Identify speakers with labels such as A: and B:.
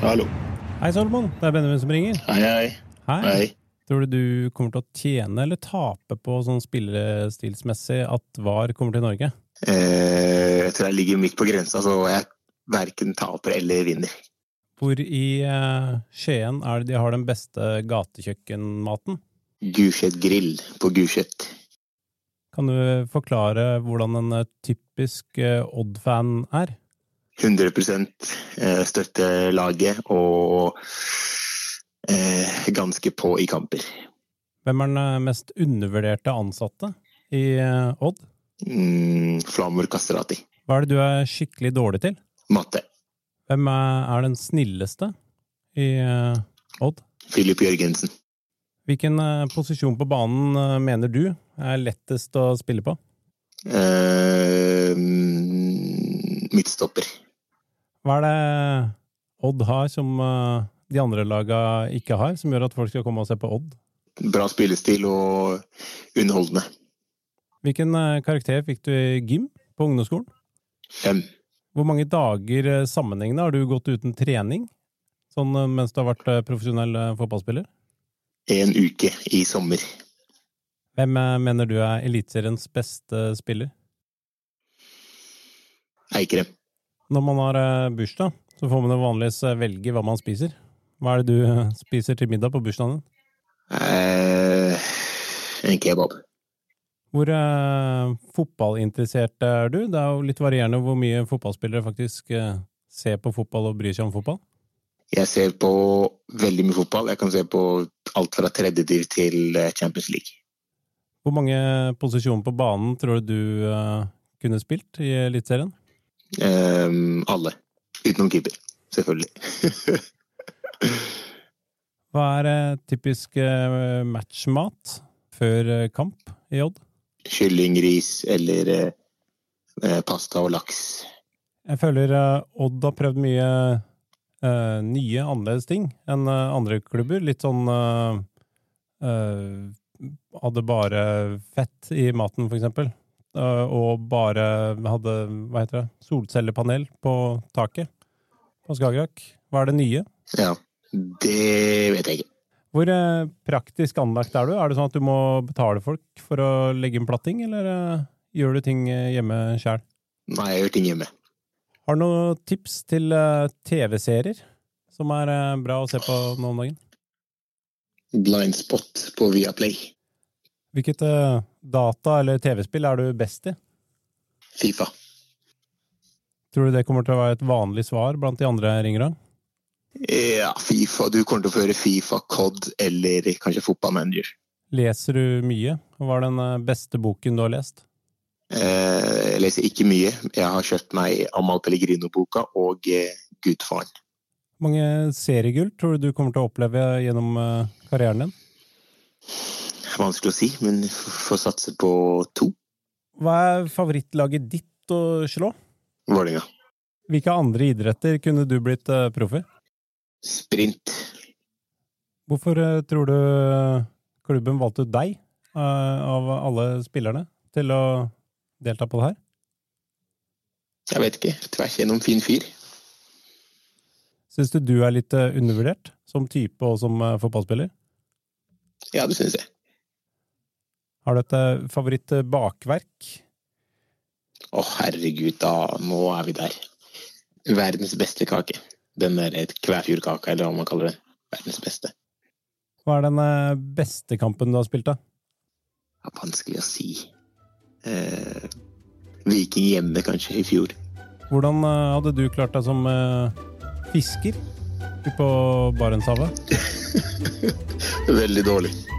A: Hallo.
B: Hei, Solomon. Det er Benjamin som ringer.
A: Hei, hei.
B: Hei.
A: Hei.
B: Tror du du kommer til å tjene eller tape på sånn spillestilsmessig at VAR kommer til Norge?
A: Eh, jeg tror jeg ligger midt på grensa, så jeg verken taper eller vinner.
B: Hvor i eh, Skien er det de har den beste gatekjøkkenmaten?
A: Gulset grill på Gulset.
B: Kan du forklare hvordan en eh, typisk eh, Odd-fan er?
A: 100 eh, støtter laget og eh, ganske på i kamper.
B: Hvem er den eh, mest undervurderte ansatte i eh, Odd?
A: Mm, Flamor Kastrati.
B: Hva er det du er skikkelig dårlig til?
A: Matte.
B: Hvem er er den snilleste i eh, Odd?
A: Filip Jørgensen.
B: Hvilken eh, posisjon på banen eh, mener du er lettest å spille på?
A: Eh, mm, midtstopper.
B: Hva er det Odd har som eh, de andre laga ikke har, som gjør at folk skal komme og se på Odd?
A: Bra spillestil og underholdende.
B: Hvilken eh, karakter fikk du i gym på ungdomsskolen?
A: Fem.
B: Hvor mange dager eh, sammenhengende har du gått uten trening? Sånn eh, mens du har vært eh, profesjonell eh, fotballspiller?
A: En uke i sommer.
B: Hvem eh, mener du er eliteseriens beste spiller?
A: Eikrem.
B: Når man har eh, bursdag, så får man jo vanligvis eh, velge hva man spiser. Hva er det du eh, spiser til middag på bursdagen din?
A: Eh, en kebab.
B: Hvor eh, fotballinteressert er du? Det er jo litt varierende hvor mye fotballspillere faktisk eh, ser på fotball og bryr seg om fotball.
A: Jeg ser på veldig mye fotball. Jeg kan se på alt fra tredje div til eh, Champions League.
B: Hvor mange posisjoner på banen tror du du eh, kunne spilt i Eliteserien?
A: Eh, alle. Utenom keeper, selvfølgelig.
B: Hva er eh, typisk eh, matchmat før eh, kamp i Odd?
A: Kylling, ris eller eh, eh, pasta og laks.
B: Jeg føler eh, Odd har prøvd mye eh, nye, annerledes ting enn eh, andre klubber. Litt sånn eh, eh, Hadde bare fett i maten, for eksempel. Eh, og bare hadde, hva heter det, solcellepanel på taket på Skagerrak. Hva er det nye?
A: Ja, det vet jeg ikke.
B: Hvor eh, praktisk anlagt er du? Er det sånn at du må betale folk for å legge inn platting, eller eh, gjør du ting eh, hjemme sjæl?
A: Nei, jeg gjør ting hjemme.
B: Har du noen tips til eh, TV-serier som er eh, bra å se på nå om dagen?
A: Blindspot på Viaplay.
B: Hvilket eh, data- eller TV-spill er du best i?
A: Fifa.
B: Tror du det kommer til å være et vanlig svar blant de andre ringerne?
A: Ja, Fifa. Du kommer til å få høre Fifa, COD eller kanskje fotballmanager.
B: Leser du mye? Hva er den eh, beste boken du har lest?
A: Eh, jeg leser ikke mye. Jeg har kjøpt meg Amal Pellegrino-boka og eh, Gudfaren.
B: Hvor mange seriegull tror du du kommer til å oppleve gjennom eh, karrieren din?
A: Vanskelig å si, men f- får satse på to.
B: Hva er favorittlaget ditt å slå?
A: Vålerenga.
B: Hvilke andre idretter kunne du blitt eh, proff i?
A: Sprint.
B: Hvorfor eh, tror du eh, klubben valgte ut deg, eh, av alle spillerne, til å delta på det her?
A: Jeg vet ikke. Tvers gjennom fin fyr.
B: Syns du du er litt eh, undervurdert som type og som eh, fotballspiller?
A: Ja, det syns jeg.
B: Har du et eh, favorittbakverk?
A: Å, herregud, da. Nå er vi der. Verdens beste kake. Den der kvæfjordkaka, eller hva man kaller den. Verdens beste.
B: Hva er den eh, beste kampen du har spilt, da?
A: Det er vanskelig å si. Eh, Viking hjemme, kanskje, i fjor.
B: Hvordan eh, hadde du klart deg som eh, fisker ute på Barentshavet?
A: Veldig dårlig.